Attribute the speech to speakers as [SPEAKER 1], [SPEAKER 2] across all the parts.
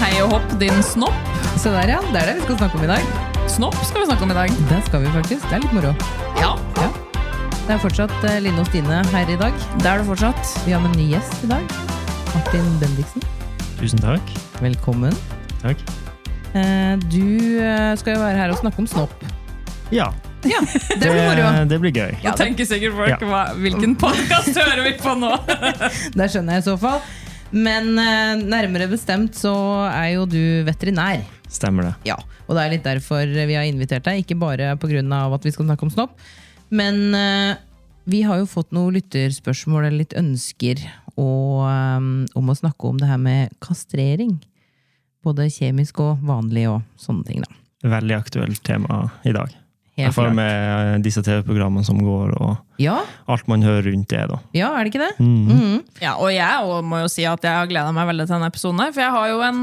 [SPEAKER 1] Hei og hopp, din snopp.
[SPEAKER 2] Se der, ja. Det er det vi skal snakke om i dag.
[SPEAKER 1] Snopp skal vi snakke om i dag.
[SPEAKER 2] Det skal vi faktisk. Det er litt moro.
[SPEAKER 1] Ja,
[SPEAKER 2] Det er fortsatt eh, Line og Stine her i dag.
[SPEAKER 1] det er det fortsatt.
[SPEAKER 2] Vi har med en ny gjest i dag. Martin Bendiksen.
[SPEAKER 3] Tusen takk.
[SPEAKER 2] Velkommen.
[SPEAKER 3] Takk.
[SPEAKER 2] Eh, Du eh, skal jo være her og snakke om snopp.
[SPEAKER 3] Ja, eh,
[SPEAKER 1] Ja, det blir moro.
[SPEAKER 3] det blir gøy.
[SPEAKER 1] Jeg tenker sikkert folk,
[SPEAKER 3] Ja.
[SPEAKER 1] hva, hvilken podcast hører vi på nå?
[SPEAKER 2] Det skjønner jeg i så fall. Men eh, nærmere bestemt så er jo du veterinær.
[SPEAKER 3] Stemmer det.
[SPEAKER 2] Ja, og det er litt derfor vi har invitert deg. Ikke bare pga. at vi skal snakke om snopp. Men eh, vi har jo fått noen lytterspørsmål eller litt ønsker og, eh, om å snakke om det her med kastrering. Både kjemisk og vanlig og sånne ting, da.
[SPEAKER 3] Veldig aktuelt tema i dag. I
[SPEAKER 2] Helt
[SPEAKER 3] hvert fall
[SPEAKER 2] klart.
[SPEAKER 3] med eh, disse TV-programmene som går, og
[SPEAKER 2] Ja,
[SPEAKER 3] alt man hører rundt det. da.
[SPEAKER 2] ja, er det ikke det?
[SPEAKER 3] Mm.
[SPEAKER 1] Ja, og jeg og må jo si at jeg har gleda meg veldig til denne episoden, her, for jeg har jo en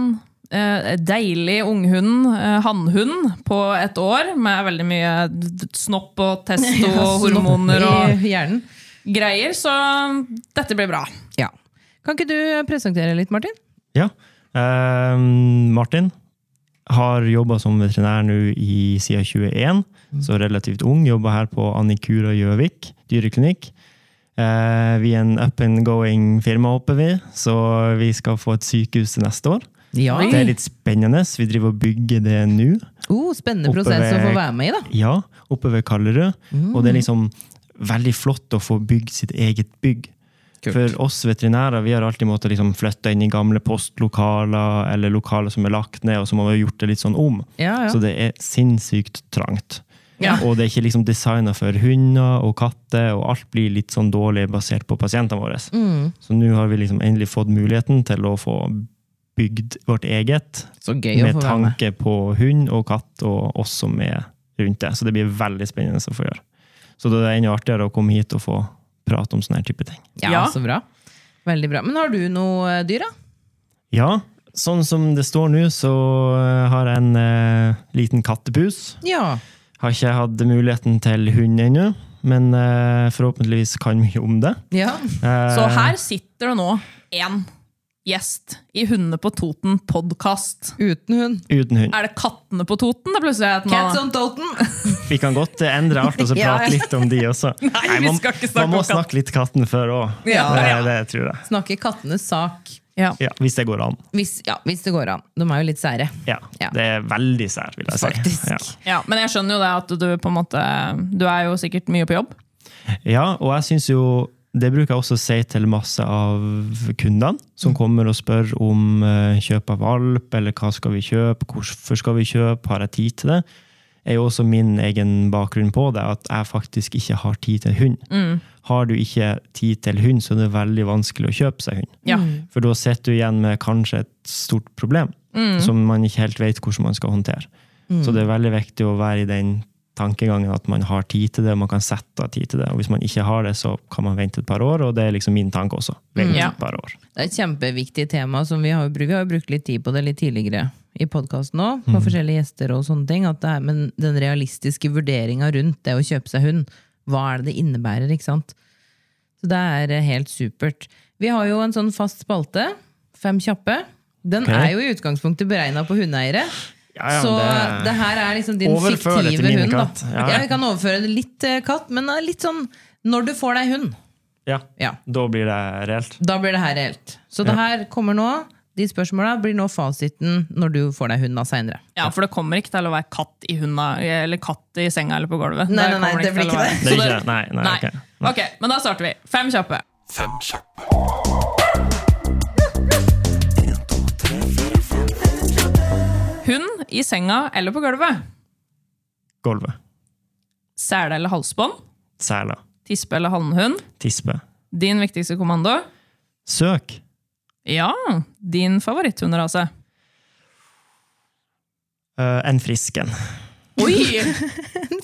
[SPEAKER 1] eh, deilig unghund, eh, hannhund, på et år med veldig mye d- d- snopp og testo og hormoner og
[SPEAKER 2] I hjernen.
[SPEAKER 1] greier, så dette blir bra.
[SPEAKER 2] Ja. Kan ikke du presentere litt, Martin?
[SPEAKER 3] Ja. Eh, Martin har jobba som veterinær nå i siden 21,
[SPEAKER 1] Mm.
[SPEAKER 3] så relativt ung. Jobba her på Annikura Gjøvik dyreklinikk. Eh, vi er en up and going firma, håper vi, så vi skal få et sykehus til neste år.
[SPEAKER 2] Ja.
[SPEAKER 3] Det er litt spennende. Vi driver og bygger det nå.
[SPEAKER 2] Oh, spennende
[SPEAKER 3] Oppe
[SPEAKER 2] prosess å
[SPEAKER 3] ved-
[SPEAKER 2] få være med i, da.
[SPEAKER 3] Ja, oppe ved Kallerød. Og det er liksom veldig flott å få bygd sitt eget bygg. For oss veterinærer vi har alltid måttet liksom flytte inn i gamle postlokaler eller lokaler som er lagt ned, og så må vi ha gjort det litt sånn om.
[SPEAKER 2] Ja, ja.
[SPEAKER 3] Så det er sinnssykt trangt.
[SPEAKER 1] Ja.
[SPEAKER 3] Og det er ikke liksom designa for hunder og katter, og alt blir litt sånn dårlig basert på pasientene våre.
[SPEAKER 2] Mm.
[SPEAKER 3] Så nå har vi liksom endelig fått muligheten til å få bygd vårt eget,
[SPEAKER 2] Så gøy å
[SPEAKER 3] med
[SPEAKER 2] få være med.
[SPEAKER 3] tanke på hund og katt og oss som er rundt det. Så det blir veldig spennende å få gjøre. Så det er enda artigere å komme hit og få prate om sånne her type ting.
[SPEAKER 2] Ja,
[SPEAKER 1] Ja.
[SPEAKER 2] så bra. Veldig bra. Men har du noe eh, dyr, da?
[SPEAKER 3] Ja, sånn som det står nå, så eh, har jeg en eh, liten kattepus.
[SPEAKER 2] Ja.
[SPEAKER 3] Har ikke hatt muligheten til hund ennå, men eh, forhåpentligvis kan mye om det.
[SPEAKER 2] ja.
[SPEAKER 3] Eh,
[SPEAKER 1] Så her sitter det nå én gjest i Hundene på Toten-podkast.
[SPEAKER 2] Uten hund.
[SPEAKER 3] Uten hund.
[SPEAKER 1] Er det Kattene på Toten? Det plutselig er et
[SPEAKER 2] Cats
[SPEAKER 1] navn.
[SPEAKER 2] on Toten!
[SPEAKER 3] Vi kan godt eh, endre alt og så
[SPEAKER 2] Ja.
[SPEAKER 3] prate litt om de også.
[SPEAKER 1] Nei, vi
[SPEAKER 3] man,
[SPEAKER 1] skal ikke snakke
[SPEAKER 3] man må
[SPEAKER 1] om katt.
[SPEAKER 3] snakke litt katten før òg.
[SPEAKER 1] Ja,
[SPEAKER 3] det,
[SPEAKER 1] ja.
[SPEAKER 3] det tror jeg.
[SPEAKER 2] Snakke kattenes sak.
[SPEAKER 1] Ja.
[SPEAKER 3] Ja, hvis det går an.
[SPEAKER 2] Hvis, ja, hvis det går an. De er jo litt sære.
[SPEAKER 3] Ja,
[SPEAKER 2] Ja.
[SPEAKER 3] det er veldig sært, vil jeg
[SPEAKER 2] Faktisk.
[SPEAKER 3] si. Ja.
[SPEAKER 1] Ja, men jeg skjønner jo det at du på en måte Du er jo sikkert mye på jobb.
[SPEAKER 3] ja, og jeg synes jo det bruker jeg også å si til masse av kundene
[SPEAKER 2] Mm.
[SPEAKER 3] som kommer og spør om eh, kjøp av valp, eller hva skal vi kjøpe, hvorfor skal vi kjøpe, har jeg tid til det? er jo også min egen bakgrunn på det, at jeg faktisk ikke har tid til hund.
[SPEAKER 2] Mm.
[SPEAKER 3] Har du ikke tid til hund, så er det veldig vanskelig å kjøpe seg hund.
[SPEAKER 1] Ja.
[SPEAKER 3] For da sitter du igjen med kanskje et stort problem
[SPEAKER 2] Mm.
[SPEAKER 3] som man ikke helt vet hvordan man skal håndtere. Så det er veldig viktig å være i den tankegangen at man har tid til det, og man kan sette av tid til det. Og hvis man ikke har det, så kan man vente et par år, og det er liksom min tanke også.
[SPEAKER 2] Mm.
[SPEAKER 3] Vente
[SPEAKER 1] Ja.
[SPEAKER 3] et par år.
[SPEAKER 2] Det er et kjempeviktig tema. Som vi, har, jo bru- vi har jo brukt litt tid på det litt tidligere i podkasten òg, med forskjellige gjester og sånne ting. At det er, men den realistiske vurderinga rundt det å kjøpe seg hund, hva er det det innebærer? ikke sant? Så det er eh, helt supert. Vi har jo en sånn fast spalte, Fem kjappe. Den
[SPEAKER 3] Ok.
[SPEAKER 2] er jo i utgangspunktet beregna på hundeeiere.
[SPEAKER 3] Ja, ja,
[SPEAKER 2] så
[SPEAKER 3] det-
[SPEAKER 2] det, her er liksom din
[SPEAKER 3] Overfør det til
[SPEAKER 2] fiktive
[SPEAKER 3] min
[SPEAKER 2] hund.
[SPEAKER 3] katt.
[SPEAKER 2] Da.
[SPEAKER 3] Ja, ja.
[SPEAKER 2] Ja, vi kan overføre det litt til katt, men det er litt sånn når du får deg hund.
[SPEAKER 3] Ja.
[SPEAKER 2] Ja,
[SPEAKER 3] Da blir det reelt.
[SPEAKER 2] da blir det her reelt. Så det her kommer nå. De spørsmåla blir nå fasiten når du får deg hund da seinere.
[SPEAKER 1] Ja, For det kommer ikke til å være katt i hunda, eller katt i senga eller på gulvet.
[SPEAKER 2] Nei, nei, nei,
[SPEAKER 1] kommer
[SPEAKER 2] det blir
[SPEAKER 1] til å
[SPEAKER 2] ikke
[SPEAKER 1] være.
[SPEAKER 2] det.
[SPEAKER 3] Det er
[SPEAKER 1] Så
[SPEAKER 3] ikke- nei, nei, ok.
[SPEAKER 1] ok, Men da starter vi. Fem kjappe.
[SPEAKER 4] Fem kjappe.
[SPEAKER 1] i senga eller på gulvet.
[SPEAKER 3] Gulvet.
[SPEAKER 1] Sele eller halsbånd.
[SPEAKER 3] Sæla.
[SPEAKER 1] Tispe eller hannhund.
[SPEAKER 3] Tispe.
[SPEAKER 1] Din viktigste kommando.
[SPEAKER 3] Søk.
[SPEAKER 1] Ja, din favoritthunderase.
[SPEAKER 3] Eh, en frisken.
[SPEAKER 1] Oi!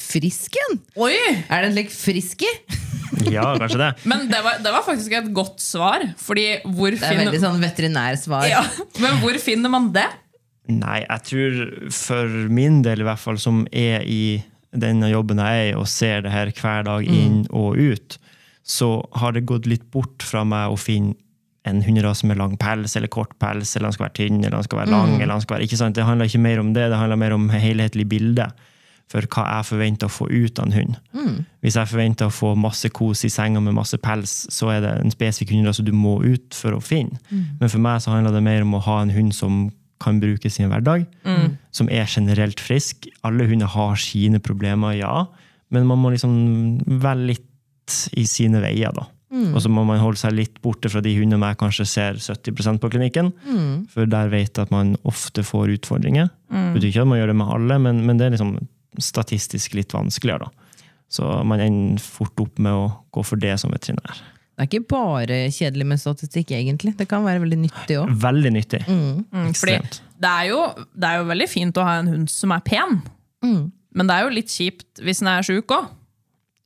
[SPEAKER 2] Frisken!
[SPEAKER 1] Oi!
[SPEAKER 2] Er det en lek friski?
[SPEAKER 3] Ja, kanskje det.
[SPEAKER 1] Men det var, det var faktisk et godt svar. Fordi hvor
[SPEAKER 2] Det er veldig
[SPEAKER 1] finner,
[SPEAKER 2] sånn veterinærsvar.
[SPEAKER 1] ja, men hvor finner man det?
[SPEAKER 3] Nei, jeg tror for min del i hvert fall, som er i denne jobben jeg er i, og ser det her hver dag inn og ut, så har det gått litt bort fra meg å finne en hunderase med lang pels eller kort pels, eller han skal være tynn eller han skal være lang. eller han skal være, ikke sant? Det handler ikke mer om det, det handler mer om helhetlig bilde for hva jeg forventer å få ut av en hund. Hvis jeg forventer å få masse kos i senga med masse pels, så er det en spesifikk hunderase du må ut for å finne. Men for meg så handler det mer om å ha en hund som kan brukes i en hverdag, som er generelt frisk. Alle hunder har sine problemer, ja, men man må liksom velge litt i sine veier, da. Og så må man holde seg litt borte fra de hundene jeg kanskje ser 70 på klinikken. For der vet jeg at man ofte får utfordringer. Det betyr ikke at man gjør det med alle, men, men det er liksom statistisk litt vanskeligere. da. Så man ender fort opp med å gå for det som veterinær.
[SPEAKER 2] Det er ikke bare kjedelig med statistikk, egentlig. Det kan være veldig nyttig òg.
[SPEAKER 3] Veldig nyttig.
[SPEAKER 1] Mm, Fordi
[SPEAKER 3] Ekstremt.
[SPEAKER 1] det er, jo, det er jo veldig fint å ha en hund som er pen.
[SPEAKER 2] Mm.
[SPEAKER 1] Men det er jo litt kjipt hvis den er sjuk òg.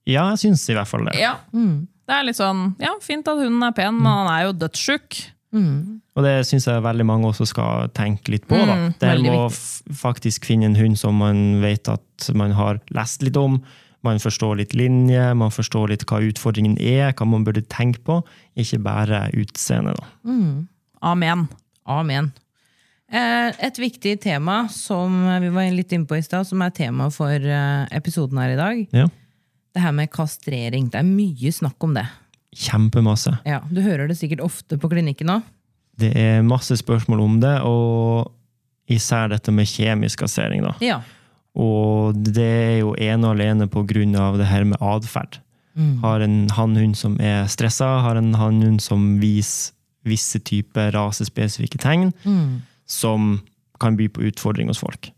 [SPEAKER 3] Ja, jeg syns i hvert fall det.
[SPEAKER 1] Ja.
[SPEAKER 2] Mm.
[SPEAKER 1] Det er litt sånn Ja, fint at hunden er pen, men han er jo dødssjuk.
[SPEAKER 3] Og det syns jeg veldig mange også skal tenke litt på. da. det her
[SPEAKER 2] veldig
[SPEAKER 3] med å f- faktisk finne en hund som man vet at man har lest litt om, man forstår litt linje, man forstår litt hva utfordringen er, hva man burde tenke på, ikke bare utseende. da.
[SPEAKER 1] Amen.
[SPEAKER 2] Amen. Eh, Et viktig tema som vi var litt inne på i stad, som er tema for eh, episoden her i dag,
[SPEAKER 3] Ja.
[SPEAKER 2] det her med kastrering. Det er mye snakk om det.
[SPEAKER 3] Kjempemasse.
[SPEAKER 2] Ja, Du hører det sikkert ofte på klinikken òg.
[SPEAKER 3] Det er masse spørsmål om det, og især dette med kjemisk kassering. da.
[SPEAKER 2] Ja.
[SPEAKER 3] Og det er jo ene og alene på grunn av det her med atferd. Har en hannhund som er stressa, har en hannhund som viser visse typer rasespesifikke tegn som kan by på utfordring hos folk.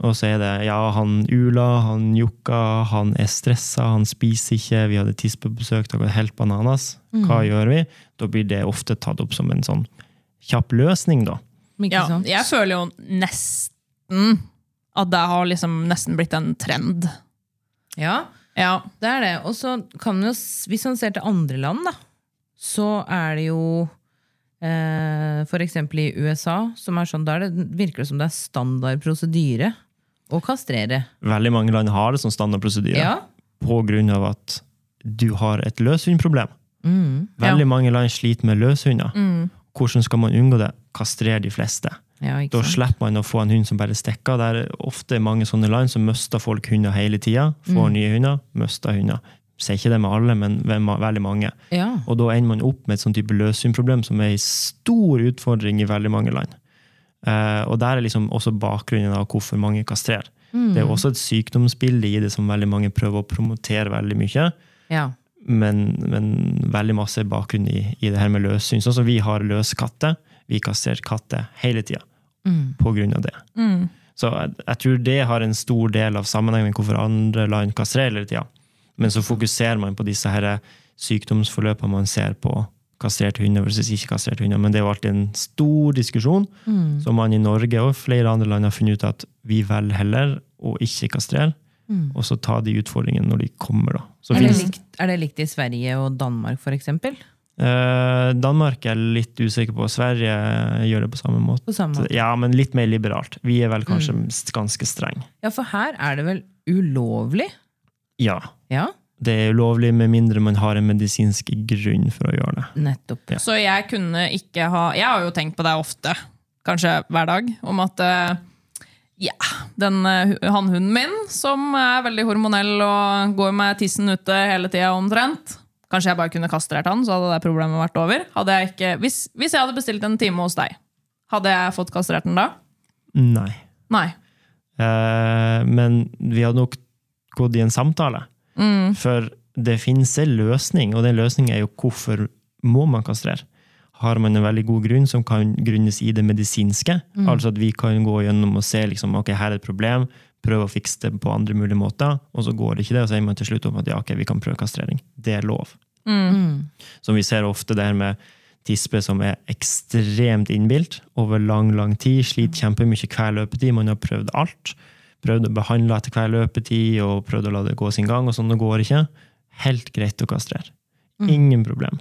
[SPEAKER 3] Og så er det ja, han ula, han jukka, han er stressa, han spiser ikke, vi hadde tiss på besøk, det var helt bananas. Hva gjør vi? Da blir det ofte tatt opp som en sånn kjapp løsning, da.
[SPEAKER 2] Ikke
[SPEAKER 1] Ja,
[SPEAKER 2] sant?
[SPEAKER 1] jeg føler jo nesten at det har liksom nesten blitt en trend.
[SPEAKER 2] ja,
[SPEAKER 1] Ja.
[SPEAKER 2] det er det. Og så kan jo, s- hvis man ser til andre land, da, så er det jo eh, for eksempel i USA, som er sånn, da er det, virker det som det er standard prosedyre å kastrere.
[SPEAKER 3] Veldig mange land har det som standardprosedyre.
[SPEAKER 2] Ja.
[SPEAKER 3] på grunn av at du har et løshundproblem. Veldig
[SPEAKER 1] Ja.
[SPEAKER 3] mange land sliter med løshunder. Hvordan skal man unngå det? Kastrere de fleste.
[SPEAKER 2] Ja, ikke
[SPEAKER 3] Da
[SPEAKER 2] sant?
[SPEAKER 3] slipper man å få en hund som bare stikker. Det er ofte mange sånne land som mister folk hunder hele tida. Får nye hunder, mister hunder. Sier ikke det med alle, men hvem- veldig mange.
[SPEAKER 2] Ja.
[SPEAKER 3] Og da ender man opp med et sånn type løshundproblem som er en stor utfordring i veldig mange land. Eh, og der er liksom også bakgrunnen av hvorfor mange kastrerer. Det er jo også et sykdomsbilde i det som veldig mange prøver å promotere veldig mye,
[SPEAKER 2] ja.
[SPEAKER 3] men, men veldig masse er bakgrunn i, i det her med løssyn. Sånn som vi har løskatter. Vi kastrerer katter hele tida
[SPEAKER 2] Mm.
[SPEAKER 3] på grunn av det. Så jeg, jeg tror det har en stor del av sammenhengen med hvorfor andre land kastrerer hele tida. Men så fokuserer man på disse her sykdomsforløpene man ser på kastrerte hunder versus ikke kastrerte hunder. Men det er jo alltid en stor diskusjon
[SPEAKER 2] Mm.
[SPEAKER 3] som man i Norge og flere andre land har funnet ut at vi velger heller å ikke kastrere, og så ta de utfordringene når de kommer. da. Så
[SPEAKER 2] Mm. Er det,
[SPEAKER 3] finnes,
[SPEAKER 2] likt, er det likt i Sverige og Danmark, for eksempel?
[SPEAKER 3] eh, Danmark er jeg litt usikker på. Sverige gjør det på samme måte.
[SPEAKER 2] På samme måte.
[SPEAKER 3] Ja, men litt mer liberalt. Vi er vel kanskje ganske strenge.
[SPEAKER 2] Ja, for her er det vel ulovlig?
[SPEAKER 3] Ja.
[SPEAKER 2] Ja,
[SPEAKER 3] Det er ulovlig med mindre man har en medisinsk grunn for å gjøre det.
[SPEAKER 2] nettopp.
[SPEAKER 1] Så jeg kunne ikke ha Jeg har jo tenkt på det ofte, kanskje hver dag, om at eh, ja, den eh, hu- hannhunden min, som er veldig hormonell og går med tissen ute hele tida omtrent Kanskje jeg bare kunne kastrert han, så hadde det problemet vært over. Hadde jeg ikke, hvis, hvis jeg hadde bestilt en time hos deg, hadde jeg fått kastrert den da?
[SPEAKER 3] Nei.
[SPEAKER 1] Nei.
[SPEAKER 3] Eh, men vi hadde nok gått i en samtale. For det finnes en løsning, og den løsningen er jo hvorfor må man kastrere. har man en veldig god grunn som kan grunnes i det medisinske. Altså at vi kan gå gjennom og se liksom, ok, her er et problem, prøve å fikse det på andre mulige måter, og så går det ikke det, og så er man til slutt om at ja, ok, vi kan prøve kastrering. Det er lov. Som vi ser ofte det her med tispe som er ekstremt innbilt over lang, lang tid, sliter kjempemye hver løpetid, man har prøvd alt. Prøvd å behandle etter hver løpetid, og prøvd å la det gå sin gang, og sånn, det går ikke. Helt greit å kastrere. Ingen problem.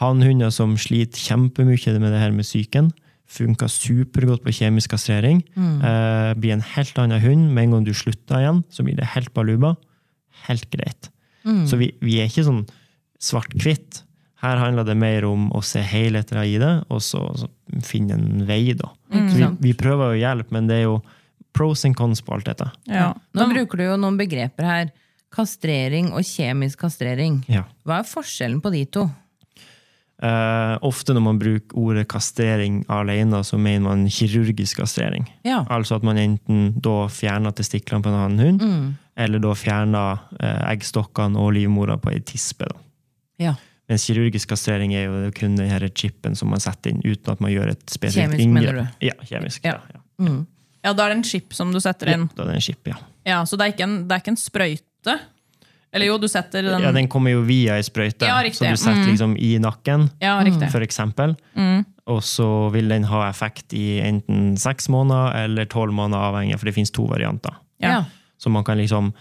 [SPEAKER 3] Hannhunder som sliter kjempemye med det her med psyken, funker supergodt på kjemisk kastrering. Eh, blir en helt annen hund. Med en gang du slutter igjen, så blir det helt baluba. Helt greit. Så vi, vi er ikke sånn svart-hvitt. Her handler det mer om å se helheten i det, og så, så finne en vei, da.
[SPEAKER 2] Mm,
[SPEAKER 3] Så vi, vi prøver å hjelpe, men det er jo pros and cons på alt dette.
[SPEAKER 1] Ja.
[SPEAKER 2] Nå bruker du jo noen begreper her. Kastrering og kjemisk kastrering.
[SPEAKER 3] Ja.
[SPEAKER 2] Hva er forskjellen på de to?
[SPEAKER 3] Eh, ofte når man bruker ordet kastrering alene, så mener man kirurgisk kastrering.
[SPEAKER 2] Ja.
[SPEAKER 3] Altså at man enten da fjerner testiklene på en annen hund,
[SPEAKER 2] Mm.
[SPEAKER 3] eller da fjerner eh, eggstokkene og livmora på ei tispe. Da.
[SPEAKER 2] Ja.
[SPEAKER 3] Mens kirurgisk kastrering er jo kun den her chipen som man setter inn uten at man gjør et spesielt
[SPEAKER 2] Kjemisk,
[SPEAKER 3] inngrep.
[SPEAKER 2] mener
[SPEAKER 3] Ja, kjemisk.
[SPEAKER 2] Ja.
[SPEAKER 3] Ja. Ja.
[SPEAKER 1] ja, da er det en chip som du setter inn.
[SPEAKER 3] Da er det en chip, ja.
[SPEAKER 1] Ja, Så det er ikke en, det er ikke en sprøyte? Eller jo, du setter den
[SPEAKER 3] ja. Den kommer jo via ei sprøyte,
[SPEAKER 1] Ja,
[SPEAKER 3] så
[SPEAKER 1] riktig. Mm.
[SPEAKER 3] du setter liksom i nakken.
[SPEAKER 1] Ja, riktig. Mm.
[SPEAKER 3] for eksempel. Og så vil den ha effekt i enten seks måneder eller tolv måneder, avhengig, for det finnes to varianter.
[SPEAKER 1] Ja.
[SPEAKER 3] Så man kan liksom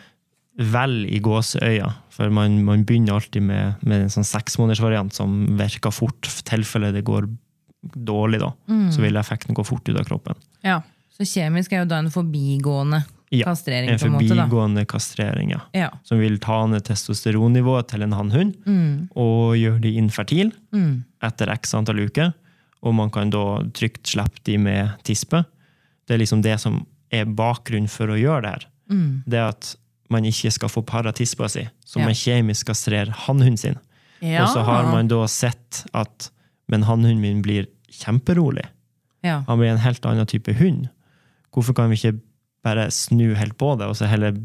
[SPEAKER 3] velge i gåseøya, for man, man begynner alltid med, med en sånn seksmånedersvariant som virker fort, i tilfelle det går dårlig, da.
[SPEAKER 1] Mm.
[SPEAKER 3] Så vil effekten gå fort ut av kroppen.
[SPEAKER 1] Ja.
[SPEAKER 2] Så kjemisk er jo da en forbigående
[SPEAKER 3] Ja,
[SPEAKER 2] kastrering,
[SPEAKER 3] En
[SPEAKER 2] på en måte. da.
[SPEAKER 3] forbigående kastrering, ja.
[SPEAKER 2] Ja.
[SPEAKER 3] Som vil ta ned testosteronnivået til en hannhund
[SPEAKER 2] Mm.
[SPEAKER 3] og gjøre de infertile etter x antall uker. Og man kan da trygt slippe de med tispe. Det er liksom det som er bakgrunnen for å gjøre det her. Det er at man ikke skal få para tispa si, så
[SPEAKER 2] Ja.
[SPEAKER 3] man kjemisk kastrerer hannhunden sin.
[SPEAKER 1] Ja.
[SPEAKER 3] Og så har man da sett at men hannhunden min blir kjemperolig.
[SPEAKER 2] Ja.
[SPEAKER 3] Han blir en helt annen type hund. Hvorfor kan vi ikke bare snu helt på det, og så heller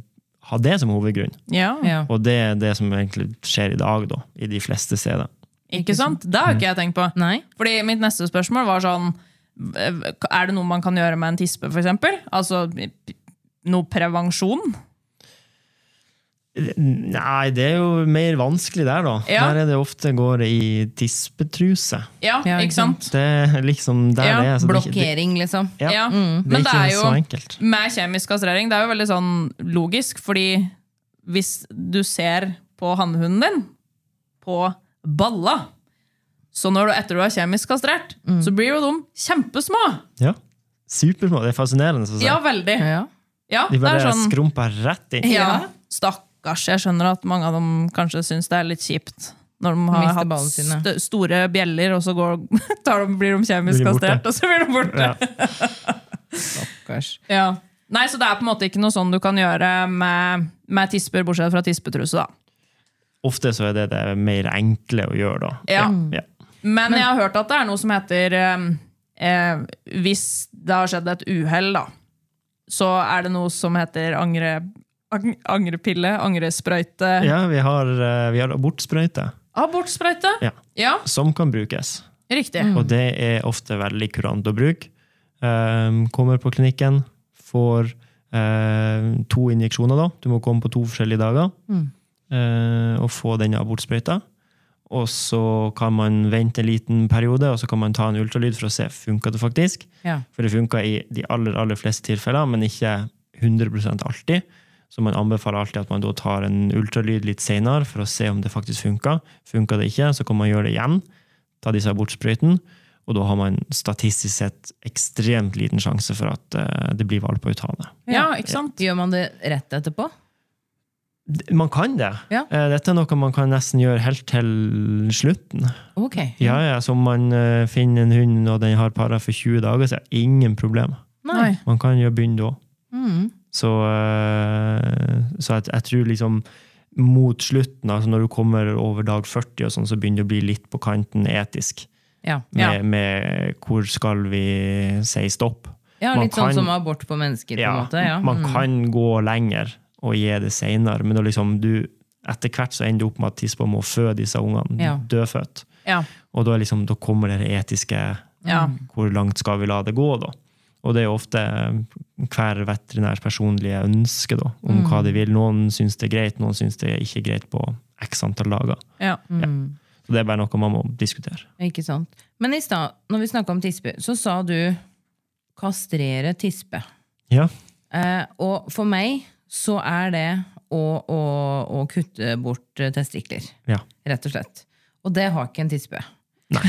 [SPEAKER 3] ha det som hovedgrunn?
[SPEAKER 1] ja.
[SPEAKER 2] Ja.
[SPEAKER 3] Og det er det som egentlig skjer i dag, da, i de fleste steder.
[SPEAKER 1] Ikke sant? Det har jo ikke jeg tenkt på.
[SPEAKER 2] Nei?
[SPEAKER 1] Fordi mitt neste spørsmål var sånn Er det noe man kan gjøre med en tispe, for eksempel? Altså noe prevensjon?
[SPEAKER 3] Nei, det er jo mer vanskelig der, da.
[SPEAKER 1] Ja.
[SPEAKER 3] Der er det ofte går det i tispetruse.
[SPEAKER 1] Ja,
[SPEAKER 2] Ja, ikke
[SPEAKER 1] ikke sant?
[SPEAKER 3] Det er liksom der
[SPEAKER 1] Ja,
[SPEAKER 3] det er. så det er ikke- det-
[SPEAKER 2] Blokkering, liksom.
[SPEAKER 3] Ja.
[SPEAKER 1] Ja.
[SPEAKER 3] Det er
[SPEAKER 1] Men det
[SPEAKER 3] ikke
[SPEAKER 1] er jo
[SPEAKER 3] så enkelt.
[SPEAKER 1] med kjemisk kastrering, det er jo veldig sånn logisk, fordi hvis du ser på hannhunden din på balla, så når du etter du har kjemisk kastrert, så blir jo de kjempesmå.
[SPEAKER 3] Ja. Supersmå. Det er fascinerende. Så å si.
[SPEAKER 1] Ja, veldig.
[SPEAKER 2] Ja.
[SPEAKER 1] Ja,
[SPEAKER 3] De
[SPEAKER 1] det
[SPEAKER 3] bare
[SPEAKER 1] er sånn
[SPEAKER 3] skrumper rett inn.
[SPEAKER 1] ja. Stakkars, jeg skjønner at mange av dem kanskje syns det er litt kjipt. Når de har
[SPEAKER 2] Mister
[SPEAKER 1] hatt
[SPEAKER 2] ballene sine.
[SPEAKER 1] st store bjeller, og så går, tar de, blir de kjemisk
[SPEAKER 3] Blir de borte.
[SPEAKER 1] kastrert, og så blir de borte.
[SPEAKER 3] Ja.
[SPEAKER 2] Stakkars.
[SPEAKER 1] Ja. Nei, så det er på en måte ikke noe sånn du kan gjøre med, med tisper, bortsett fra tispetruse, da.
[SPEAKER 3] Ofte så er det det mer enkle å gjøre, da.
[SPEAKER 1] Ja.
[SPEAKER 3] ja.
[SPEAKER 1] Men jeg har hørt at det er noe som heter eh, eh, Hvis det har skjedd et uhell, da, så er det noe som heter angre, ang, angrepille, angresprøyte
[SPEAKER 3] Ja, vi har, eh, vi har abortsprøyte
[SPEAKER 1] Abortsprøyte! Mm.
[SPEAKER 3] ja,
[SPEAKER 1] Ja,
[SPEAKER 3] som kan brukes.
[SPEAKER 1] riktig.
[SPEAKER 3] Og det er ofte veldig kurant å bruke. Ehm, kommer på klinikken, får ehm, to injeksjoner, da. Du må komme på to forskjellige dager eh, og få denne abortsprøyta. Og så kan man vente en liten periode, og så kan man ta en ultralyd for å se funker det faktisk.
[SPEAKER 2] Ja.
[SPEAKER 3] For det funker i de aller, aller fleste tilfeller, men ikke 100 alltid. Så man anbefaler alltid at man da tar en ultralyd litt senere for å se om det faktisk funker. Funker det ikke, så kan man gjøre det igjen. Ta disse abortsprøytene. Og da har man statistisk sett ekstremt liten sjanse for at eh, det blir valp ut av det.
[SPEAKER 1] Ja, ikke sant?
[SPEAKER 2] Gjør man det rett etterpå?
[SPEAKER 3] D- Man kan det.
[SPEAKER 2] Ja.
[SPEAKER 3] Eh, Dette er noe man kan nesten gjøre helt til slutten.
[SPEAKER 2] Ok.
[SPEAKER 3] Ja, ja, Så om man eh, finner en hund og den har para for 20 dager, så er det ingen problem.
[SPEAKER 2] Nei.
[SPEAKER 3] Man kan jo begynne da.
[SPEAKER 2] Mm.
[SPEAKER 3] Så, eh, så jeg, jeg tror liksom mot slutten, altså når du kommer over dag 40, og sånn, så begynner det å bli litt på kanten etisk.
[SPEAKER 2] Ja.
[SPEAKER 3] Med,
[SPEAKER 1] Ja.
[SPEAKER 3] med hvor skal vi si stopp?
[SPEAKER 2] ja,
[SPEAKER 3] Man
[SPEAKER 2] litt sånn
[SPEAKER 3] kan-
[SPEAKER 2] som abort på mennesker, på en måte. Ja. Mm.
[SPEAKER 3] Man kan gå lenger og gi det seinere, men da liksom du, etter hvert så ender du opp med at tispa må føde disse ungene
[SPEAKER 2] Ja.
[SPEAKER 3] dødfødt.
[SPEAKER 1] Ja.
[SPEAKER 3] Og da, er liksom, da kommer det etiske
[SPEAKER 1] Ja.
[SPEAKER 3] Hvor langt skal vi la det gå, da? Og det er jo ofte eh, hver veterinærs personlige ønske da, om
[SPEAKER 2] Mm.
[SPEAKER 3] hva de vil. Noen syns det er greit, noen syns det er ikke greit på x antall dager.
[SPEAKER 1] ja.
[SPEAKER 3] Så det er bare noe man må diskutere.
[SPEAKER 2] Mm. Ikke sant? Men i stad, når vi snakka om tispe, så sa du kastrere tispe.
[SPEAKER 3] Ja.
[SPEAKER 2] Eh, og for meg så er det å, å, å kutte bort eh, testikler.
[SPEAKER 3] ja.
[SPEAKER 2] Rett og slett. Og det har ikke en tispe. Så,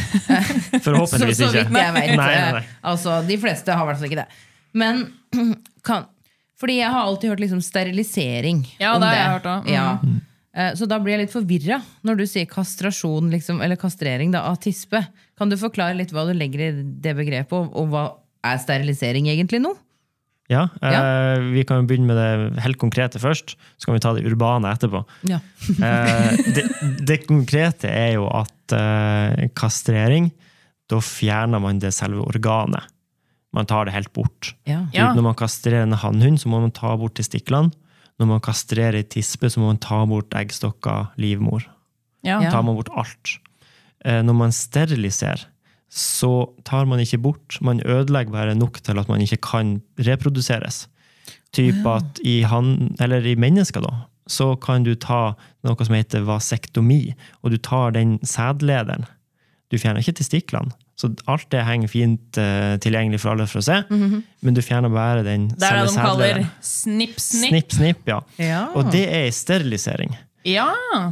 [SPEAKER 3] Forhåpentligvis
[SPEAKER 2] så
[SPEAKER 3] ikke.
[SPEAKER 2] vidt jeg vet.
[SPEAKER 3] Nei, nei, nei.
[SPEAKER 2] Eh, Altså, de fleste har i hvert fall ikke det. Men kan Fordi jeg har alltid hørt liksom sterilisering.
[SPEAKER 1] Ja,
[SPEAKER 2] om
[SPEAKER 1] det har jeg hørt også. Mm.
[SPEAKER 2] Ja. Eh, Så da blir jeg litt forvirra når du sier kastrasjon liksom, eller kastrering da, av tispe. Kan du forklare litt hva du legger i det begrepet, og, og hva er sterilisering egentlig nå?
[SPEAKER 3] Ja, eh,
[SPEAKER 2] Ja.
[SPEAKER 3] Vi kan jo begynne med det helt konkrete først, så kan vi ta det urbane etterpå.
[SPEAKER 2] Ja.
[SPEAKER 3] Eh, det, det konkrete er jo at eh, kastrering, da fjerner man det selve organet. Man tar det helt bort.
[SPEAKER 2] Ja.
[SPEAKER 1] Ja.
[SPEAKER 3] Når man kastrerer en hannhund, så må man ta bort testiklene. Når man kastrerer ei tispe, så må man ta bort eggstokker, livmor.
[SPEAKER 1] Ja.
[SPEAKER 2] Ja.
[SPEAKER 3] Tar man bort alt. Eh, Når man steriliserer, så tar man ikke bort. Man ødelegger bare nok til at man ikke kan reproduseres. Typ at i, han, eller i mennesker, da, så kan du ta noe som heter vasektomi, og du tar den sædlederen. Du fjerner ikke testiklene. Så alt det henger fint eh, tilgjengelig for alle for å se, men du fjerner bare den
[SPEAKER 1] Det Mhm. er
[SPEAKER 3] selve
[SPEAKER 1] det de kaller
[SPEAKER 3] sædlederen.
[SPEAKER 1] snipp, snipp.
[SPEAKER 3] Snipp, snipp, ja.
[SPEAKER 2] Ja.
[SPEAKER 3] Og det er en sterilisering.
[SPEAKER 1] Ja.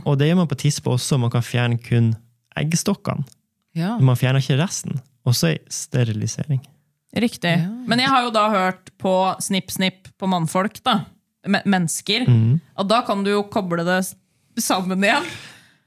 [SPEAKER 3] Og det gjør man på tispe også. Man kan fjerne kun eggstokkene.
[SPEAKER 2] Ja.
[SPEAKER 3] Man fjerner ikke resten. Også ei sterilisering.
[SPEAKER 1] Riktig. Men jeg har jo da hørt på snipp, snipp på mannfolk, da. Me- Mennesker.
[SPEAKER 3] Mm.
[SPEAKER 1] Og da kan du jo koble det s- sammen igjen.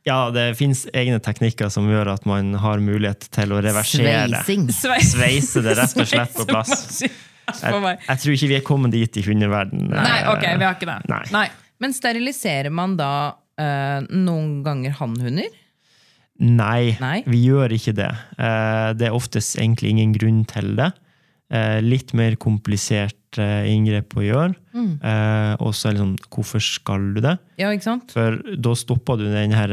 [SPEAKER 3] Ja, det fins egne teknikker som gjør at man har mulighet til å reversere.
[SPEAKER 2] Sveising.
[SPEAKER 1] Sveis.
[SPEAKER 3] Sveise det rett og slett på plass.
[SPEAKER 1] Sveisemaskinen
[SPEAKER 3] Jeg,
[SPEAKER 1] for meg.
[SPEAKER 3] jeg tror ikke vi er kommet dit i hundeverden.
[SPEAKER 1] Nei,
[SPEAKER 3] Eh,
[SPEAKER 1] ok, vi har ikke det.
[SPEAKER 3] Nei.
[SPEAKER 1] Nei.
[SPEAKER 2] Men steriliserer man da eh, noen ganger hannhunder?
[SPEAKER 3] Nei,
[SPEAKER 2] Nei.
[SPEAKER 3] vi gjør ikke det. Eh, Det er oftest egentlig ingen grunn til det. Eh, Litt mer komplisert eh, inngrep å gjøre.
[SPEAKER 1] Mm.
[SPEAKER 3] Eh, Og så er det sånn, hvorfor skal du det?
[SPEAKER 2] Ja, ikke sant?
[SPEAKER 3] For da stopper du den her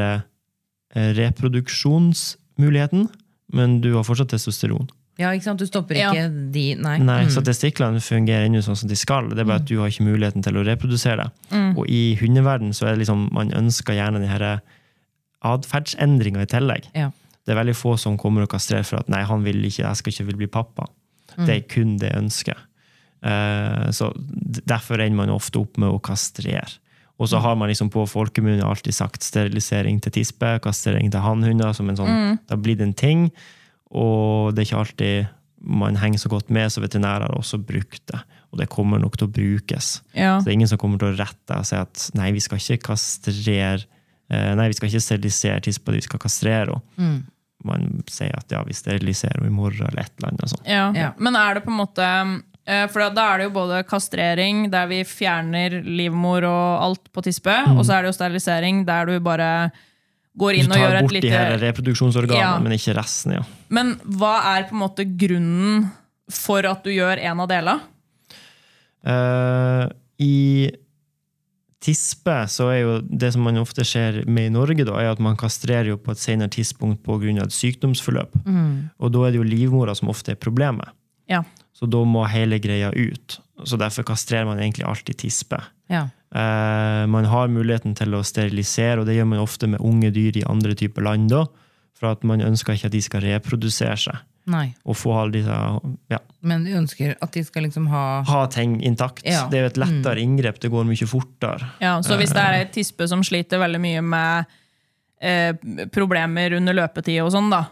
[SPEAKER 3] eh, reproduksjonsmuligheten, men du har fortsatt testosteron.
[SPEAKER 2] Ja, ikke sant? Du stopper
[SPEAKER 1] Ja.
[SPEAKER 2] ikke de Nei. Mm.
[SPEAKER 3] Nei, Så testiklene fungerer ennå sånn som de skal. Det er bare at du har ikke muligheten til å reprodusere det. Og i hundeverden så er det liksom, man ønsker gjerne den her atferdsendringa i tillegg.
[SPEAKER 2] Ja.
[SPEAKER 3] Det er veldig få som kommer og kastrerer for at nei, han vil ikke, jeg skal ikke vil bli pappa. Det er kun det ønsket. Eh, så d- derfor ender man ofte opp med å kastrere. Og så har man liksom på folkemunne alltid sagt sterilisering til tispe, kastrering til hannhunder, som en sånn, det har blitt en ting. Og det er ikke alltid man henger så godt med, så veterinærer har også brukt det. Og det kommer nok til å brukes.
[SPEAKER 1] Ja.
[SPEAKER 3] Så det er ingen som kommer til å rette deg og si at nei, vi skal ikke kastrere eh, Nei, vi skal ikke sterilisere tispa, vi skal kastrere henne.
[SPEAKER 1] Mm.
[SPEAKER 3] Man sier at ja, vi steriliserer henne i morgen, eller et eller annet sånt.
[SPEAKER 1] Ja.
[SPEAKER 2] Ja.
[SPEAKER 1] Men er det på en måte eh, For da er det jo både kastrering, der vi fjerner livmor og alt på tispe, og så er det jo sterilisering, der du bare går
[SPEAKER 3] Mm. Du
[SPEAKER 1] inn og
[SPEAKER 3] tar
[SPEAKER 1] gjør
[SPEAKER 3] bort
[SPEAKER 1] et
[SPEAKER 3] de her
[SPEAKER 1] lite
[SPEAKER 3] reproduksjonsorganene,
[SPEAKER 1] Ja.
[SPEAKER 3] men ikke resten, ja.
[SPEAKER 1] Men hva er på en måte grunnen for at du gjør en av delene?
[SPEAKER 3] Eh, I tispe så er jo det som man ofte ser med i Norge, da, er at man kastrerer jo på et senere tidspunkt pga. et sykdomsforløp. Og da er det jo livmora som ofte er problemet.
[SPEAKER 1] Ja.
[SPEAKER 3] Så da må hele greia ut. Så derfor kastrerer man egentlig alltid tispe.
[SPEAKER 2] Ja.
[SPEAKER 3] Eh, man har muligheten til å sterilisere, og det gjør man ofte med unge dyr i andre typer land. da, For at man ønsker ikke at de skal reprodusere seg
[SPEAKER 2] Nei.
[SPEAKER 3] og få alle disse, ja,
[SPEAKER 2] Men vi ønsker at de skal liksom ha
[SPEAKER 3] ha ting intakt.
[SPEAKER 2] Ja.
[SPEAKER 3] Det er jo et lettere inngrep, det går mye fortere.
[SPEAKER 1] Ja, så hvis det er ei tispe som sliter veldig mye med eh, problemer under løpetid og sånn, da,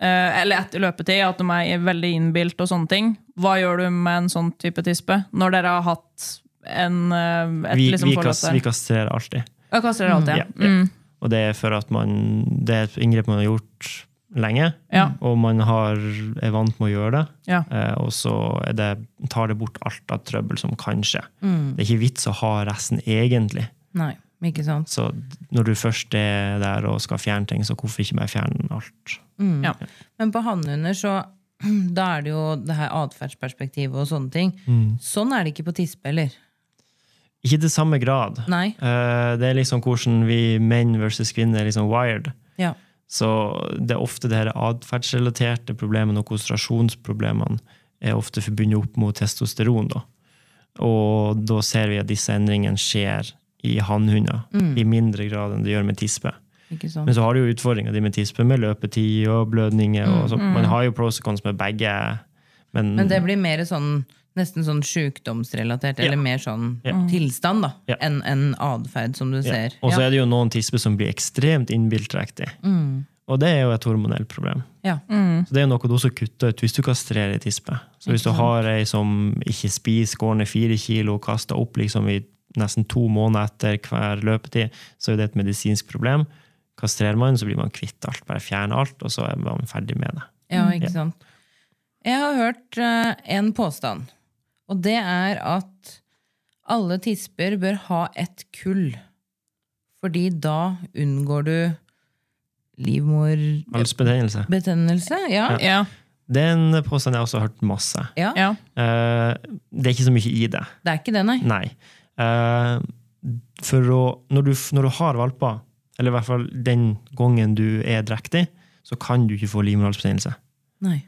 [SPEAKER 1] eh, eller etter løpetid, at de er veldig innbilt og sånne ting, hva gjør du med en sånn type tispe når dere har hatt en, eh, et
[SPEAKER 3] Vi,
[SPEAKER 1] liksom
[SPEAKER 3] vi,
[SPEAKER 1] forhold
[SPEAKER 3] kas,
[SPEAKER 1] til
[SPEAKER 3] vi kastrerer alltid.
[SPEAKER 1] Ja, kaster dere alltid,
[SPEAKER 3] Ja,
[SPEAKER 1] ja.
[SPEAKER 3] ja.
[SPEAKER 1] Mm.
[SPEAKER 3] Og det er for at man, det er et inngrep man har gjort lenge,
[SPEAKER 1] Ja.
[SPEAKER 3] og man har, er vant med å gjøre det.
[SPEAKER 1] Ja.
[SPEAKER 3] Eh, og så er det, tar det bort alt av trøbbel som kan skje.
[SPEAKER 1] Mm.
[SPEAKER 3] Det er ikke vits å ha resten egentlig.
[SPEAKER 2] Nei, ikke sant?
[SPEAKER 3] Så når du først er der og skal fjerne ting, så hvorfor ikke bare fjerne alt?
[SPEAKER 1] Mm, Ja.
[SPEAKER 2] Men på hannhunder så da er det jo det her atferdsperspektivet og sånne ting.
[SPEAKER 3] Mm.
[SPEAKER 2] Sånn er det ikke på tispe heller.
[SPEAKER 3] Ikke til samme grad.
[SPEAKER 2] Nei.
[SPEAKER 3] sånn Eh, det er liksom hvordan vi menn versus kvinner er liksom wired.
[SPEAKER 2] Ja.
[SPEAKER 3] Så det er ofte det her atferdsrelaterte problemene og konsentrasjonsproblemene er ofte forbundet opp mot testosteron. da. Og da ser vi at disse endringene skjer i hannhunder
[SPEAKER 2] Mm.
[SPEAKER 3] i mindre grad enn det gjør med tispe.
[SPEAKER 2] Ikke sant?
[SPEAKER 3] Men så har du jo utfordringer de med tispe, med løpetid og blødninger. og så. Man har jo pros og cons med begge. Men,
[SPEAKER 2] Mm, Men det blir mer sånn Nesten sånn sjukdomsrelatert, eller mer sånn
[SPEAKER 3] Ja.
[SPEAKER 2] tilstand, da.
[SPEAKER 3] Ja.
[SPEAKER 2] Enn en atferd, som du
[SPEAKER 3] Ja.
[SPEAKER 2] ser.
[SPEAKER 3] Og
[SPEAKER 2] Ja.
[SPEAKER 3] så
[SPEAKER 2] Mm.
[SPEAKER 3] er det jo noen tisper som blir ekstremt innbiltrektig. Og det er jo et hormonelt problem.
[SPEAKER 2] Ja.
[SPEAKER 3] Så det er jo noe du også kutter ut hvis du kastrerer ei tispe. Så hvis du har ei som ikke spiser, går ned fire kilo og kaster opp liksom i nesten to måneder etter hver løpetid, så er jo det et medisinsk problem. Kastrerer man, så blir man kvitt alt. Bare fjerner alt, og så er man ferdig med det.
[SPEAKER 2] Ja, ikke sant. Jeg har hørt eh, en påstand, og det er at alle tisper bør ha et kull. Fordi da unngår du livmorbetennelse.
[SPEAKER 3] Halsbetennelse.
[SPEAKER 2] Ja.
[SPEAKER 1] Ja,
[SPEAKER 3] Det er en påstand jeg også har hørt masse.
[SPEAKER 2] ja.
[SPEAKER 1] ja.
[SPEAKER 3] Eh, det er ikke så mye i det.
[SPEAKER 2] Det er ikke det, nei.
[SPEAKER 3] Nei. Eh, for å, når, du, når du har valper, eller i hvert fall den gangen du er drektig, så kan du ikke få livmorhalsbetennelse.
[SPEAKER 2] nei.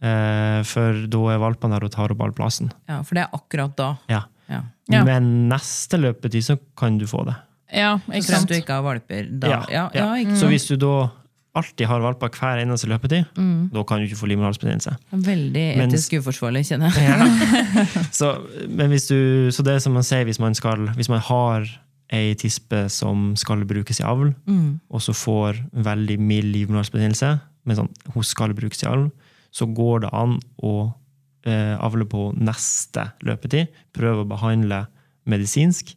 [SPEAKER 3] Eh, for da er valpene der og tar opp all plassen.
[SPEAKER 2] Ja, for det er akkurat da.
[SPEAKER 3] Ja.
[SPEAKER 2] Ja.
[SPEAKER 1] Ja.
[SPEAKER 3] Men neste løpetid så kan du få det.
[SPEAKER 1] ja ikke
[SPEAKER 2] Hvis
[SPEAKER 1] sant.
[SPEAKER 2] du ikke har valper da.
[SPEAKER 3] Ja,
[SPEAKER 2] Ja, ja,
[SPEAKER 3] ja.
[SPEAKER 2] ikke
[SPEAKER 3] Så
[SPEAKER 2] sant.
[SPEAKER 3] hvis du da alltid har valper hver eneste løpetid,
[SPEAKER 2] Mm.
[SPEAKER 3] da kan du ikke få livmorhalsbetennelse.
[SPEAKER 2] Veldig
[SPEAKER 3] Mens-
[SPEAKER 2] etisk uforsvarlig, kjenner jeg.
[SPEAKER 3] Så, men hvis du, så det er som man sier hvis man, skal, hvis man har ei tispe som skal brukes i avl,
[SPEAKER 2] Mm.
[SPEAKER 3] og så får veldig mild livmorhalsbetennelse, men sånn, hun skal brukes i avl, så går det an å eh, avle på neste løpetid. Prøve å behandle medisinsk,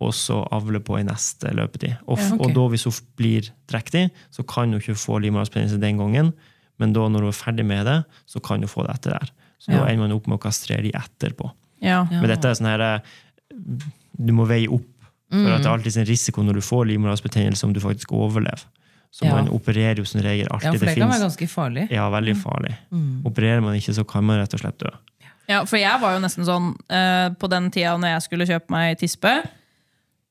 [SPEAKER 3] og så avle på i neste løpetid. Og, f-
[SPEAKER 2] Ja, ok.
[SPEAKER 3] og da hvis hun f- blir drektig, så kan hun ikke få livmorhalsbetennelse den gangen, men da når hun er ferdig med det, så kan hun få det etter der. Så da
[SPEAKER 2] Ja.
[SPEAKER 3] ender man opp med å kastrere de etterpå.
[SPEAKER 1] Ja.
[SPEAKER 2] Ja.
[SPEAKER 3] Men dette er sånn her eh, Du må veie opp. For
[SPEAKER 2] Mm.
[SPEAKER 3] at det er alltid en risiko når du får livmorhalsbetennelse, om du faktisk overlever. Så
[SPEAKER 2] Ja.
[SPEAKER 3] man opererer jo som regel
[SPEAKER 2] Ja,
[SPEAKER 3] alltid.
[SPEAKER 2] for det kan
[SPEAKER 3] finnes-
[SPEAKER 2] være ganske Mm. farlig.
[SPEAKER 3] ja, veldig farlig. Opererer man ikke, så kan man rett og slett dø.
[SPEAKER 1] Ja, for jeg var jo nesten sånn eh, På den tida når jeg skulle kjøpe meg tispe,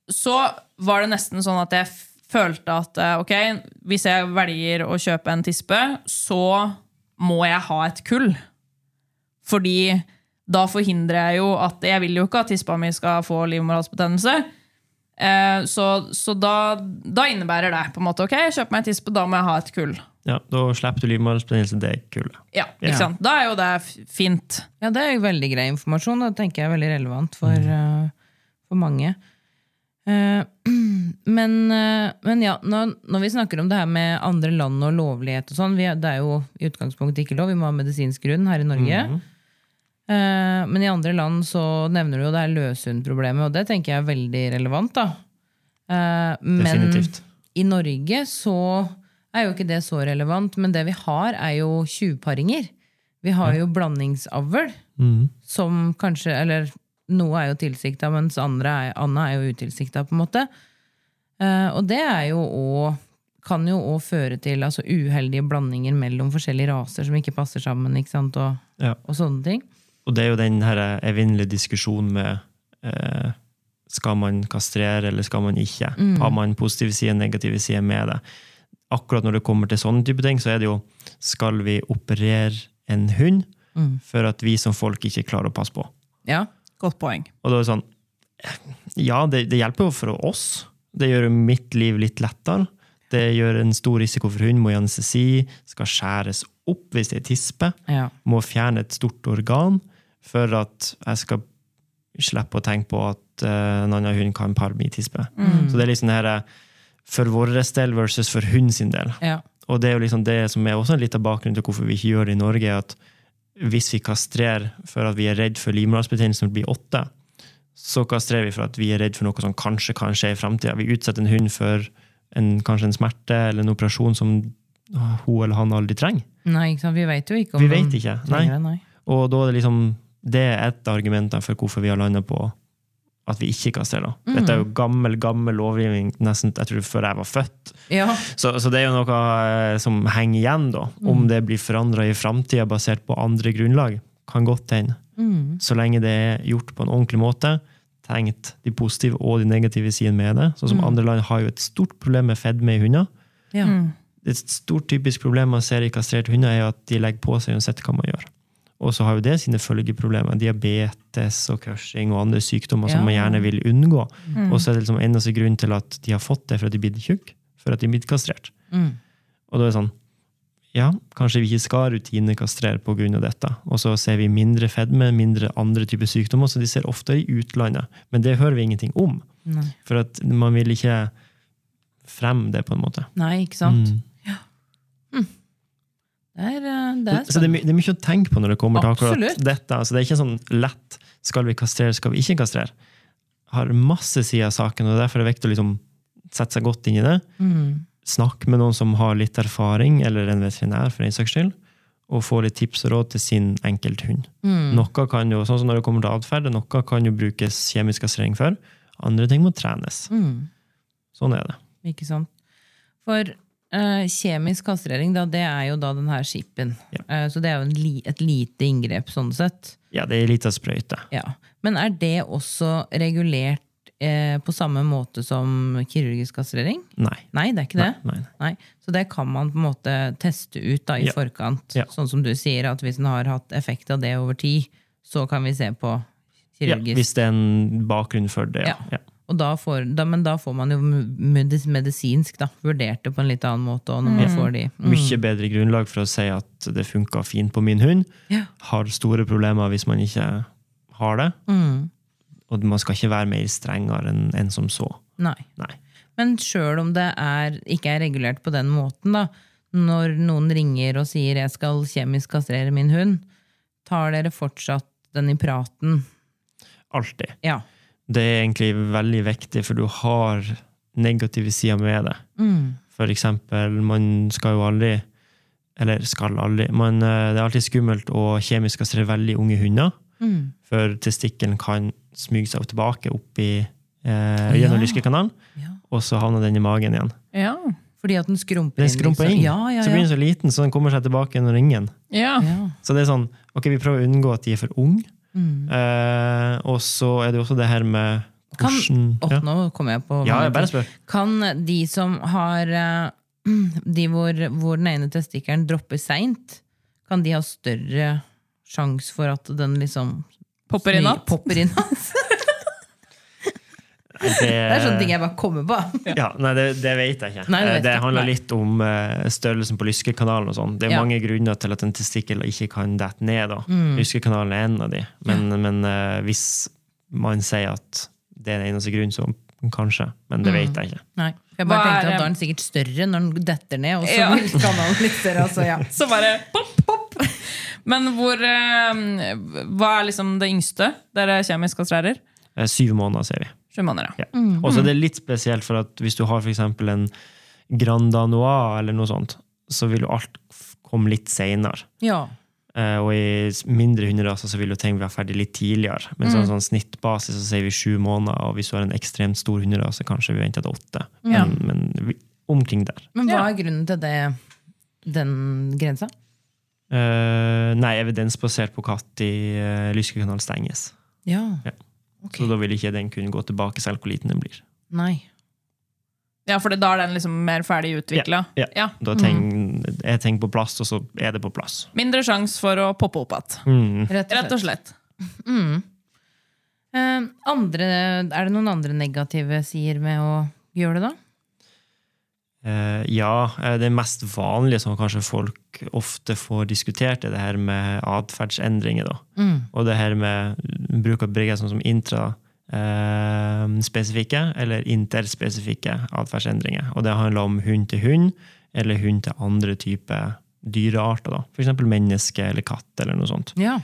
[SPEAKER 1] så var det nesten sånn at jeg f- følte at eh, ok, hvis jeg velger å kjøpe en tispe, så må jeg ha et kull. Fordi da forhindrer jeg jo at Jeg vil jo ikke at tispa mi skal få livmorhalsbetennelse. Eh, så så da, da innebærer det på en måte ok, jeg kjøper meg en tispe, da må jeg ha et kull.
[SPEAKER 3] Ja, Da slipper du livmorhalsbetennelse. Det er kullet.
[SPEAKER 1] Ja,
[SPEAKER 2] Ja.
[SPEAKER 1] ikke sant? Da er jo det f- fint.
[SPEAKER 2] Ja, det er jo veldig grei informasjon, og det tenker jeg er veldig relevant for, eh, for mange. Eh, men, eh, men ja, når, når vi snakker om det her med andre land og lovlighet og sånn, vi er- det er jo i utgangspunktet ikke lov, vi må ha medisinsk grunn her i Norge. Eh, men i andre land så nevner du jo det er løshundproblemet, og det tenker jeg er veldig relevant, da. Eh, men
[SPEAKER 3] Definitivt.
[SPEAKER 2] i Norge så er jo ikke det så relevant, men det vi har, er jo tjuvparinger. Vi har jo blandingsavl
[SPEAKER 3] Mm.
[SPEAKER 2] som kanskje Eller noe er jo tilsikta, mens andre er, Anna er jo utilsikta, på en måte. Eh, og det er jo òg kan jo òg føre til altså, uheldige blandinger mellom forskjellige raser som ikke passer sammen. ikke sant, og,
[SPEAKER 3] Ja.
[SPEAKER 2] og sånne ting.
[SPEAKER 3] Og det er jo den her evinnelige diskusjonen med eh, skal man kastrere eller skal man ikke? Har man positive sider, negative sider med det? Akkurat når det kommer til sånne type ting, så er det jo skal vi operere en hund for at vi som folk ikke klarer å passe på?
[SPEAKER 2] Ja,
[SPEAKER 1] Godt poeng.
[SPEAKER 3] Og da er det sånn Ja, det, det hjelper jo for oss. Det gjør jo mitt liv litt lettere. Det gjør en stor risiko for hund, må i anestesi, skal skjæres opp hvis det er tispe
[SPEAKER 2] ja,
[SPEAKER 3] må fjerne et stort organ for at jeg skal slippe å tenke på at eh, en annen hund kan pare min tispe.
[SPEAKER 2] Mm.
[SPEAKER 3] Så det er liksom det her eh, for vår del versus for hund sin del.
[SPEAKER 2] ja.
[SPEAKER 3] Og det er jo liksom det som er også en litt av bakgrunnen til hvorfor vi ikke gjør det i Norge, er at hvis vi kastrerer for at vi er redd for livmorhalsbetennelse når det blir åtte, så kastrerer vi for at vi er redd for noe som kanskje kan skje i framtida. Vi utsetter en hund for en, kanskje en smerte eller en operasjon som hun eller han aldri trenger.
[SPEAKER 2] Nei, ikke sant? vi veit jo ikke om
[SPEAKER 3] Vi
[SPEAKER 2] de
[SPEAKER 3] vet ikke. Nei.
[SPEAKER 2] trenger det, nei.
[SPEAKER 3] Og da er det liksom Det er et av argumentene for hvorfor vi har landa på at vi ikke kastreller. Dette er jo gammel gammel lovgivning nesten jeg tror før jeg var født.
[SPEAKER 2] Ja,
[SPEAKER 3] Så, så det er jo noe eh, som henger igjen, da. Om det blir forandra i framtida basert på andre grunnlag, kan godt hende. Så lenge det er gjort på en ordentlig måte, tenkt de positive og de negative sidene med det. Sånn som andre land har jo et stort problem med fedme i hunder.
[SPEAKER 2] ja.
[SPEAKER 3] Et stort typisk problem man ser i kastrerte hunder, er jo at de legger på seg uansett hva man gjør. Og så har jo det sine følgeproblemer. Diabetes og cursing og andre sykdommer
[SPEAKER 2] Ja. Mm.
[SPEAKER 3] som man gjerne vil unngå. Og så er det liksom eneste grunnen til at de har fått det, for at de er blitt tjukke, for at de er blitt kastrert.
[SPEAKER 2] Mm.
[SPEAKER 3] Og da er det sånn Ja, kanskje vi ikke skal rutinekastrere pga. dette. Og så ser vi mindre fedme, mindre andre typer sykdommer, så de ser oftere i utlandet. Men det hører vi ingenting om.
[SPEAKER 2] Nei.
[SPEAKER 3] For at man vil ikke fremme det, på en måte.
[SPEAKER 2] Nei, ikke sant?
[SPEAKER 3] Mm.
[SPEAKER 2] Det er, eh, det er
[SPEAKER 3] Så det er, my det er mye å tenke på når det kommer til
[SPEAKER 2] Absolutt.
[SPEAKER 3] akkurat dette. Altså, det er ikke sånn lett skal vi kastrere, skal vi ikke kastrere. Har masse sider av saken, og derfor er det viktig å liksom sette seg godt inn i det.
[SPEAKER 2] Mm.
[SPEAKER 3] Snakk med noen som har litt erfaring, eller en veterinær, for den saks skyld, og få litt tips og råd til sin enkelthund.
[SPEAKER 2] Mm.
[SPEAKER 3] Noe kan jo, sånn som når det kommer til atferd, noe kan jo brukes kjemisk kastrering for. Andre ting må trenes.
[SPEAKER 2] Mm.
[SPEAKER 3] Sånn er det.
[SPEAKER 2] Ikke sant? For eh, kjemisk kastrering, da, det er jo da den her skipen.
[SPEAKER 3] Ja.
[SPEAKER 2] Eh, så det er jo en li et lite inngrep, sånn sett.
[SPEAKER 3] Ja, det er litt av sprøyte.
[SPEAKER 2] Ja. Men er det også regulert eh, på samme måte som kirurgisk kastrering?
[SPEAKER 3] Nei.
[SPEAKER 2] Nei, det er ikke det.
[SPEAKER 3] Nei, nei.
[SPEAKER 2] Nei. Så det kan man på en måte teste ut da, i
[SPEAKER 3] Ja.
[SPEAKER 2] forkant.
[SPEAKER 3] Ja.
[SPEAKER 2] Sånn som du sier, at hvis den har hatt effekt av det over tid, så kan vi se på
[SPEAKER 3] Ja,
[SPEAKER 2] kirurgisk.
[SPEAKER 3] hvis det er en bakgrunn for det. Ja.
[SPEAKER 2] Ja.
[SPEAKER 3] Ja.
[SPEAKER 2] Og da får, da, men da får man jo medis- medisinsk da, vurdert det på en litt annen måte. Og når man får de. Mm.
[SPEAKER 3] Mye bedre grunnlag for å si at det funka fint på min hund.
[SPEAKER 2] Ja.
[SPEAKER 3] Har store problemer hvis man ikke har det.
[SPEAKER 2] Mm.
[SPEAKER 3] Og man skal ikke være mer strengere enn enn som så.
[SPEAKER 2] Nei.
[SPEAKER 3] Nei.
[SPEAKER 2] Men sjøl om det er, ikke er regulert på den måten, da, når noen ringer og sier 'jeg skal kjemisk kastrere min hund', tar dere fortsatt den i praten?
[SPEAKER 3] Alltid.
[SPEAKER 2] Ja.
[SPEAKER 3] Det er egentlig veldig viktig, for du har negative sider med det.
[SPEAKER 2] Mm.
[SPEAKER 3] For eksempel, man skal jo aldri Eller skal aldri man, eh, Det er alltid skummelt å kjemisk kastrere veldig unge hunder.
[SPEAKER 2] Mm.
[SPEAKER 3] For testikkelen kan smyge seg tilbake opp i, eh,
[SPEAKER 2] Ja.
[SPEAKER 3] gjennom lyskekanalen,
[SPEAKER 2] Ja.
[SPEAKER 3] og så havner den i magen igjen.
[SPEAKER 1] Ja.
[SPEAKER 2] Fordi at den skrumper
[SPEAKER 3] Den skrumper
[SPEAKER 2] liksom.
[SPEAKER 3] inn.
[SPEAKER 2] Ja, ja,
[SPEAKER 3] Så blir
[SPEAKER 2] ja.
[SPEAKER 3] den så liten, så den kommer seg tilbake gjennom ringen.
[SPEAKER 1] ja.
[SPEAKER 2] ja.
[SPEAKER 3] Så det er sånn, ok, vi prøver å unngå at de er for unge.
[SPEAKER 2] Mm.
[SPEAKER 3] Eh, og så er det jo også det her med
[SPEAKER 2] Kan-
[SPEAKER 3] hvordan
[SPEAKER 2] Åh,
[SPEAKER 3] ja.
[SPEAKER 2] Nå kommer jeg på
[SPEAKER 3] ja,
[SPEAKER 2] mange
[SPEAKER 3] jeg bare
[SPEAKER 2] ting.
[SPEAKER 3] spør.
[SPEAKER 2] Kan de som har eh, De hvor, hvor den ene testikkelen dropper seint, kan de ha større sjanse for at den liksom
[SPEAKER 1] Popper inn att.
[SPEAKER 2] Popper inn att?
[SPEAKER 3] Det,
[SPEAKER 2] Det
[SPEAKER 3] Eh,
[SPEAKER 2] er sånne ting jeg bare kommer på.
[SPEAKER 3] ja, nei, det, det vet jeg ikke.
[SPEAKER 2] Nei, det
[SPEAKER 3] Eh,
[SPEAKER 2] vet
[SPEAKER 3] det
[SPEAKER 2] jeg ikke.
[SPEAKER 3] handler
[SPEAKER 2] Nei.
[SPEAKER 3] litt om eh, størrelsen på lyskekanalen. og sånn. Det er
[SPEAKER 2] Ja. Mm.
[SPEAKER 3] mange grunner til at en testikkel ikke kan dette ned. da. Lyskekanalen er en av de. Men, men eh, hvis man sier at det er den eneste grunnen, så kanskje. Men det
[SPEAKER 2] Mm.
[SPEAKER 3] vet jeg ikke.
[SPEAKER 2] Nei. Jeg bare
[SPEAKER 1] Hva er
[SPEAKER 2] tenkte
[SPEAKER 1] det?
[SPEAKER 2] at da er den sikkert større når den detter ned. Og så
[SPEAKER 1] Ja.
[SPEAKER 2] blir kanalen litt større, altså, ja.
[SPEAKER 1] Så bare pop, pop. Men hvor eh, Hva er liksom det yngste dere kjemisk kastrerer?
[SPEAKER 3] Eh, Syv måneder, sier vi.
[SPEAKER 1] Sju måneder, ja.
[SPEAKER 3] Ja.
[SPEAKER 2] Mm.
[SPEAKER 3] Og så er det litt spesielt, for at hvis du har f.eks. en Grand Danois eller noe sånt, så vil jo alt f- komme litt seinere.
[SPEAKER 2] ja.
[SPEAKER 3] Eh, og i s- mindre hunderaser så vil jo ting være ferdig litt tidligere. Men sånn, sånn snittbasis så sier vi sju måneder, og hvis du har en ekstremt stor hunderase, kanskje vi venter til åtte. Men,
[SPEAKER 1] Ja.
[SPEAKER 3] men vi, omkring der.
[SPEAKER 2] Men hva
[SPEAKER 1] Ja.
[SPEAKER 2] er grunnen til det, den grensa?
[SPEAKER 3] Eh, nei, evidensbasert på når uh, lyskekanal stenges.
[SPEAKER 2] Ja.
[SPEAKER 3] Ja.
[SPEAKER 2] Ok.
[SPEAKER 3] Så da vil ikke den kunne gå tilbake, selv hvor liten den blir.
[SPEAKER 2] Nei.
[SPEAKER 1] Ja, for da er den liksom mer ferdig utvikla.
[SPEAKER 3] Ja, ja. Da ting, er ting på plass, og så er det på plass.
[SPEAKER 1] Mindre sjanse for å poppe opp igjen.
[SPEAKER 3] Mm.
[SPEAKER 2] Rett og
[SPEAKER 1] Rett
[SPEAKER 2] slett.
[SPEAKER 1] og slett.
[SPEAKER 2] Eh, andre, er det noen andre negative sider med å gjøre det, da?
[SPEAKER 3] Eh, ja, eh, det mest vanlige som kanskje folk ofte får diskutert, er det her med atferdsendringer. da.
[SPEAKER 2] Mm.
[SPEAKER 3] Og det her med bruk av brygger sånn som intraspesifikke eller interspesifikke atferdsendringer. Og det handler om hund til hund, eller hund til andre typer dyrearter. da. F.eks. menneske eller katt, eller noe sånt.
[SPEAKER 2] Ja.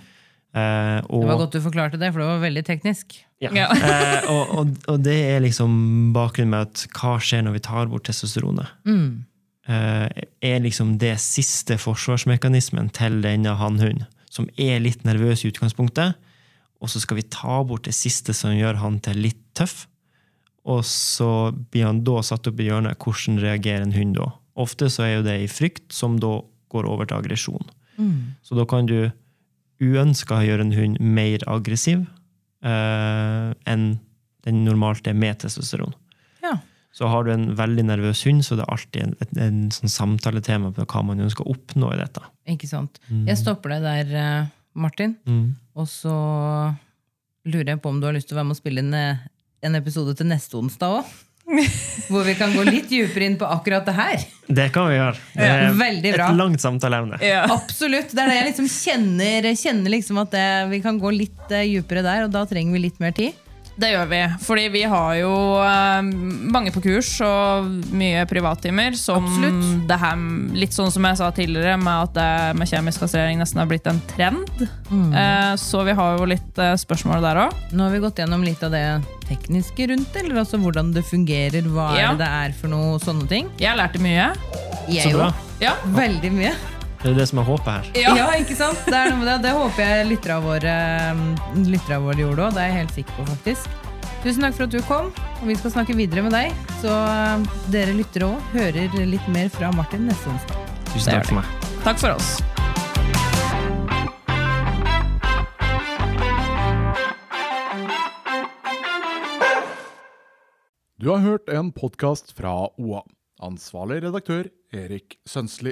[SPEAKER 3] Eh, og,
[SPEAKER 2] Det var godt du forklarte det, for det var veldig teknisk.
[SPEAKER 3] Ja.
[SPEAKER 1] Ja.
[SPEAKER 3] eh, og, og, og det er liksom bakgrunnen med at hva skjer når vi tar bort testosteronet? eh, er liksom det siste forsvarsmekanismen til denne hannhunden, som er litt nervøs i utgangspunktet. Og så skal vi ta bort det siste som gjør han til litt tøff. Og så blir han da satt opp i hjørnet. Hvordan reagerer en hund da? Ofte så er jo det i frykt, som da går over til aggresjon. Så da kan du uønska gjøre en hund mer aggressiv eh, enn den normalt er med testosteron.
[SPEAKER 2] Ja.
[SPEAKER 3] Så har du en veldig nervøs hund, så det er alltid en, en, en sånn samtaletema på hva man ønsker å oppnå i dette.
[SPEAKER 2] Ikke sant? Jeg stopper deg der, eh, Martin. Og så lurer jeg på om du har lyst til å være med og spille inn eh, en episode til neste onsdag òg? Hvor vi kan gå litt dypere inn på akkurat det her.
[SPEAKER 3] Det kan vi gjøre. Det
[SPEAKER 2] Ja,
[SPEAKER 3] er
[SPEAKER 2] veldig bra.
[SPEAKER 3] Et langt samtaleemne.
[SPEAKER 2] Absolutt. Det er det jeg liksom kjenner, kjenner liksom at det, vi kan gå litt eh, dypere der, og da trenger vi litt mer tid.
[SPEAKER 1] Det gjør vi. Fordi vi har jo eh, mange på kurs og mye privattimer. Som
[SPEAKER 2] Absolutt.
[SPEAKER 1] det her, litt sånn som jeg sa tidligere, med at det med kjemisk kastrering nesten har blitt en trend. Eh, så vi har jo litt eh, spørsmål der òg.
[SPEAKER 2] Nå har vi gått gjennom litt av det tekniske rundt, eller altså hvordan det fungerer, hva
[SPEAKER 1] Ja.
[SPEAKER 2] er det det er for noe, sånne ting.
[SPEAKER 1] Jeg lærte mye.
[SPEAKER 2] Jeg
[SPEAKER 3] Så bra.
[SPEAKER 1] Ja.
[SPEAKER 2] jo Veldig mye.
[SPEAKER 3] Det er det som er håpet her.
[SPEAKER 1] Ja.
[SPEAKER 2] Ja. ikke sant? Det er noe med det. Det håper jeg lyttere av våre, lytter av våre gjorde òg. Det er jeg helt sikker på, faktisk. Tusen takk for at du kom, og vi skal snakke videre med deg. Så eh, dere lyttere òg hører litt mer fra Martin neste onsdag.
[SPEAKER 3] Tusen takk for meg.
[SPEAKER 1] Takk for oss.
[SPEAKER 5] Du har hørt en podkast fra OA. Ansvarlig redaktør Erik Sønsli.